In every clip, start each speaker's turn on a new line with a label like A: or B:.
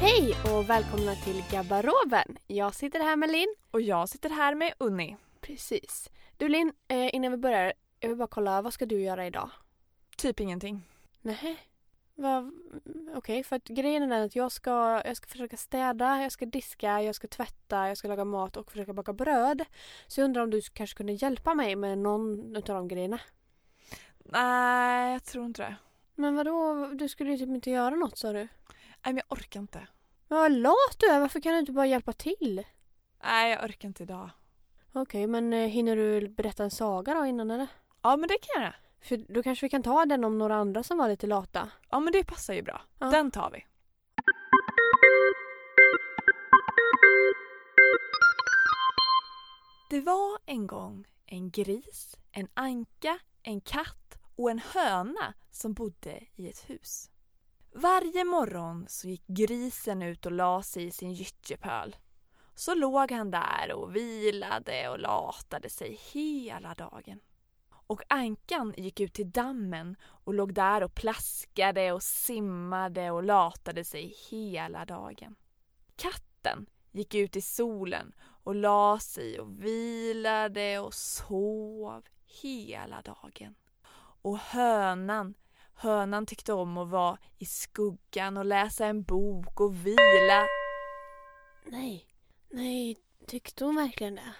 A: Hej och välkomna till Gabbaroben. Jag sitter här med Linn.
B: Och jag sitter här med Unni.
A: Precis. Du Linn, eh, innan vi börjar, jag vill bara kolla, vad ska du göra idag?
B: Typ ingenting.
A: Nej. Vad? Okej, för att grejen är den att jag ska, jag ska försöka städa, jag ska diska, jag ska tvätta, jag ska laga mat och försöka baka bröd. Så jag undrar om du kanske kunde hjälpa mig med någon av de grejerna.
B: Nej, jag tror inte det.
A: Men vadå, du skulle ju typ inte göra något sa du.
B: Nej, men jag orkar inte.
A: Men vad lat du är, varför kan du inte bara hjälpa till?
B: Nej, jag orkar inte idag.
A: Okej, men eh, hinner du berätta en saga då innan eller?
B: Ja, men det kan jag göra.
A: För då kanske vi kan ta den om några andra som var lite lata.
B: Ja, men det passar ju bra.
A: Ja.
B: Den tar vi. Det var en gång en gris, en anka, en katt och en höna som bodde i ett hus. Varje morgon så gick grisen ut och la sig i sin gyttjepöl. Så låg han där och vilade och latade sig hela dagen. Och ankan gick ut till dammen och låg där och plaskade och simmade och latade sig hela dagen. Katten gick ut i solen och la sig och vilade och sov hela dagen. Och hönan, hönan tyckte om att vara i skuggan och läsa en bok och vila.
A: Nej. Nej, tyckte hon verkligen det?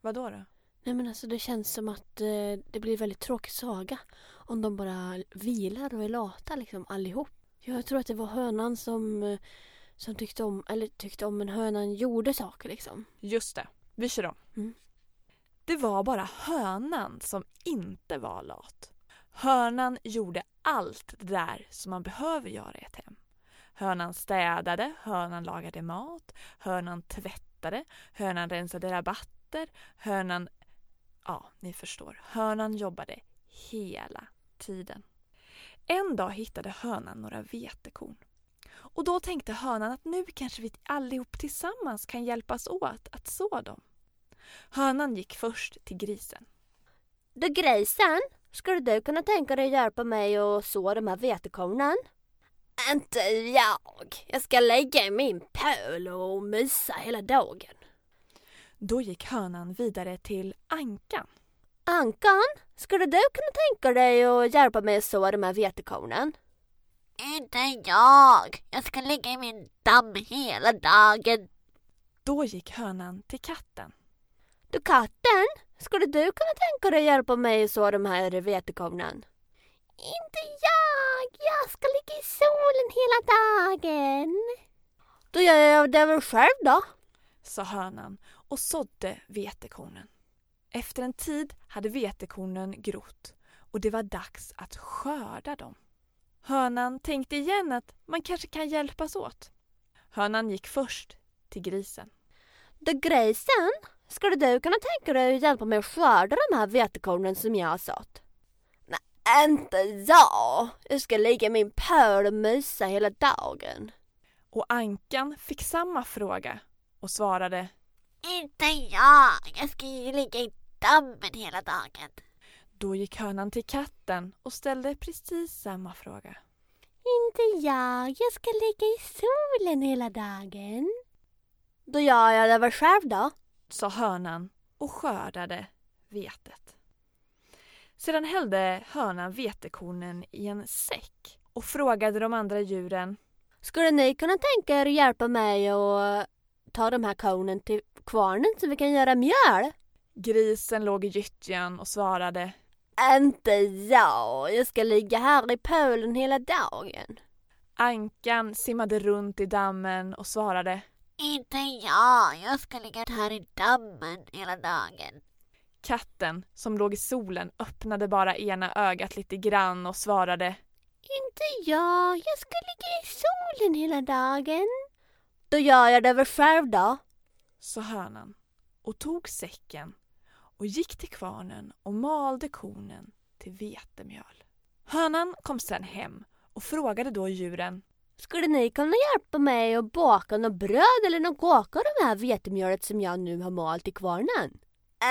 B: Vadå då?
A: Nej men alltså det känns som att eh, det blir väldigt tråkig saga om de bara vilar och är lata liksom allihop. Jag tror att det var hönan som, eh, som tyckte om, eller tyckte om men hönan gjorde saker liksom.
B: Just det, vi kör om.
A: Mm.
B: Det var bara hönan som inte var lat. Hönan gjorde allt det där som man behöver göra i ett hem. Hönan städade, hönan lagade mat, hönan tvättade, hönan rensade rabatter, hönan... Ja, ni förstår. Hönan jobbade hela tiden. En dag hittade hönan några vetekorn. Och då tänkte hönan att nu kanske vi allihop tillsammans kan hjälpas åt att så dem. Hönan gick först till grisen.
C: Du grisen, skulle du kunna tänka dig hjälpa mig att så de här vetekornen? Inte jag. Jag ska ligga i min pöl och mysa hela dagen.
B: Då gick hönan vidare till ankan.
C: Ankan, skulle du kunna tänka dig att hjälpa mig att så de här vetekornen? Inte jag. Jag ska ligga i min damm hela dagen.
B: Då gick hönan till katten.
C: Du katten, skulle du kunna tänka dig hjälpa mig att så de här vetekornen? Inte jag! Jag ska ligga i solen hela dagen. Då gör jag det väl själv då.
B: sa hönan och sådde vetekornen. Efter en tid hade vetekornen grott och det var dags att skörda dem. Hönan tänkte igen att man kanske kan hjälpas åt. Hönan gick först till grisen.
C: Du grisen, skulle du kunna tänka dig att hjälpa mig att skörda de här vetekornen som jag har sått? Nej, inte jag. Jag ska ligga i min pöl och mysa hela dagen.
B: Och ankan fick samma fråga och svarade
C: Inte jag. Jag ska ju ligga i dammen hela dagen.
B: Då gick hönan till katten och ställde precis samma fråga.
C: Inte jag. Jag ska ligga i solen hela dagen. Då gör jag det väl själv då.
B: sa hönan och skördade vetet. Sedan hällde hönan vetekornen i en säck och frågade de andra djuren.
C: Skulle ni kunna tänka er att hjälpa mig och ta de här kornen till kvarnen så vi kan göra mjöl?
B: Grisen låg i gyttjan och svarade.
C: Inte jag. Jag ska ligga här i pölen hela dagen.
B: Ankan simmade runt i dammen och svarade.
C: Inte jag. Jag ska ligga här i dammen hela dagen.
B: Katten, som låg i solen, öppnade bara ena ögat lite grann och svarade.
C: Inte jag. Jag ska ligga i solen hela dagen. Då gör jag det väl själv då.
B: sa hönan och tog säcken och gick till kvarnen och malde kornen till vetemjöl. Hönan kom sedan hem och frågade då djuren.
C: Skulle ni kunna hjälpa mig att baka något bröd eller något kaka av det här vetemjölet som jag nu har malt i kvarnen?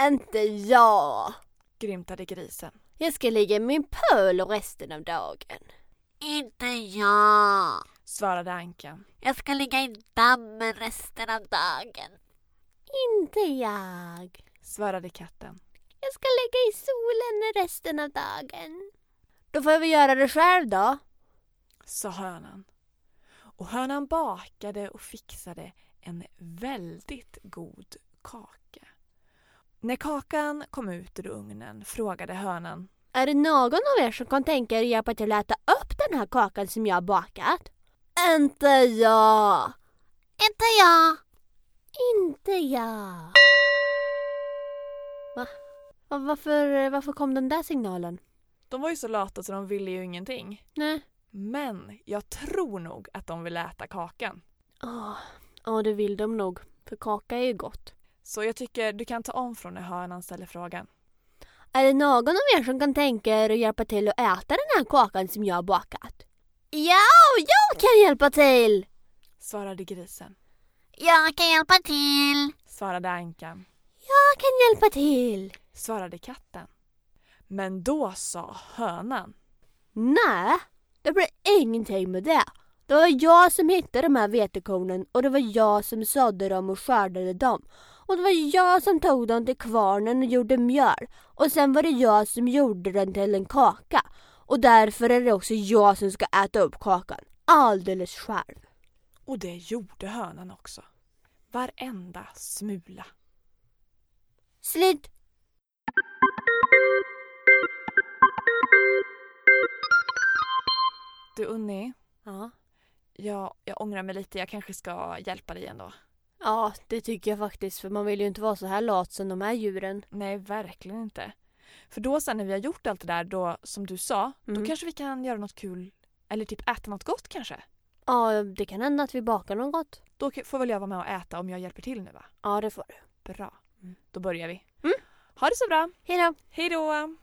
C: Inte jag!
B: Grymtade grisen.
C: Jag ska ligga i min pöl resten av dagen. Inte jag!
B: svarade ankan.
C: Jag ska ligga i dammen resten av dagen.
A: Inte jag.
B: Svarade katten.
C: Jag ska ligga i solen resten av dagen. Då får vi göra det själv då.
B: Sa hönan. Och hönan bakade och fixade en väldigt god kaka. När kakan kom ut ur ugnen frågade hönan.
C: Är det någon av er som kan tänka er att hjälpa till att äta upp den här kakan som jag har bakat? Inte jag! Inte jag! Inte jag!
A: Va- Varför, varför kom den där signalen?
B: De var ju så lata så de ville ju ingenting.
A: Nej.
B: Men jag tror nog att de ville äta kakan.
A: Ja, ja, det vill de nog. För kaka är ju gott.
B: Så jag tycker du kan ta om från när hönan ställer frågan.
C: Är det någon av er som kan tänka er att hjälpa till att äta den här kakan som jag har bakat? Ja, jag kan hjälpa till!
B: Svarade grisen.
C: Jag kan hjälpa till!
B: Svarade ankan.
C: Jag kan hjälpa till!
B: Svarade katten. Men då sa hönan.
C: Nej, det blir ingenting med det. Det var jag som hittade de här vetekornen och det var jag som sådde dem och skördade dem. Och det var jag som tog dem till kvarnen och gjorde mjöl. Och sen var det jag som gjorde den till en kaka. Och därför är det också jag som ska äta upp kakan. Alldeles själv.
B: Och det gjorde hönan också. Varenda smula.
C: Slut!
B: Du Unni,
A: Ja.
B: jag, jag ångrar mig lite. Jag kanske ska hjälpa dig ändå.
A: Ja, det tycker jag faktiskt. För man vill ju inte vara så här lat som de här djuren.
B: Nej, verkligen inte. För då sen när vi har gjort allt det där då, som du sa,
A: Mhm.
B: då kanske vi kan göra något kul. Eller typ äta något gott kanske.
A: Ja, det kan hända att vi bakar något gott.
B: Då k- får väl jag vara med och äta om jag hjälper till nu va?
A: Ja, det får du.
B: Bra. Då börjar vi.
A: Mm.
B: Ha det så bra.
A: Hej då!
B: Hej då!